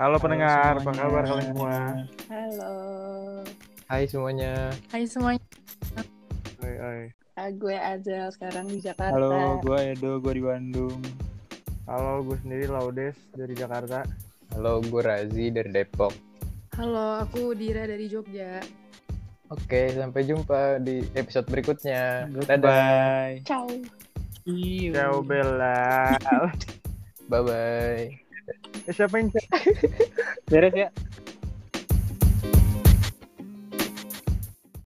Halo pendengar, apa semuanya. kabar kalian semua? Halo, Hai semuanya. Hai semuanya. Oi, oi. Ah, gue Azel sekarang di Jakarta. Halo, gue Edo, gue di Bandung. Halo, gue sendiri Laudes dari Jakarta. Halo, gue Razi dari Depok. Halo, aku Dira dari Jogja. Oke, sampai jumpa di episode berikutnya. Dadah. Bye. Ciao. Ciao Bella. Bye bye. Eh, siapa yang Beres ya?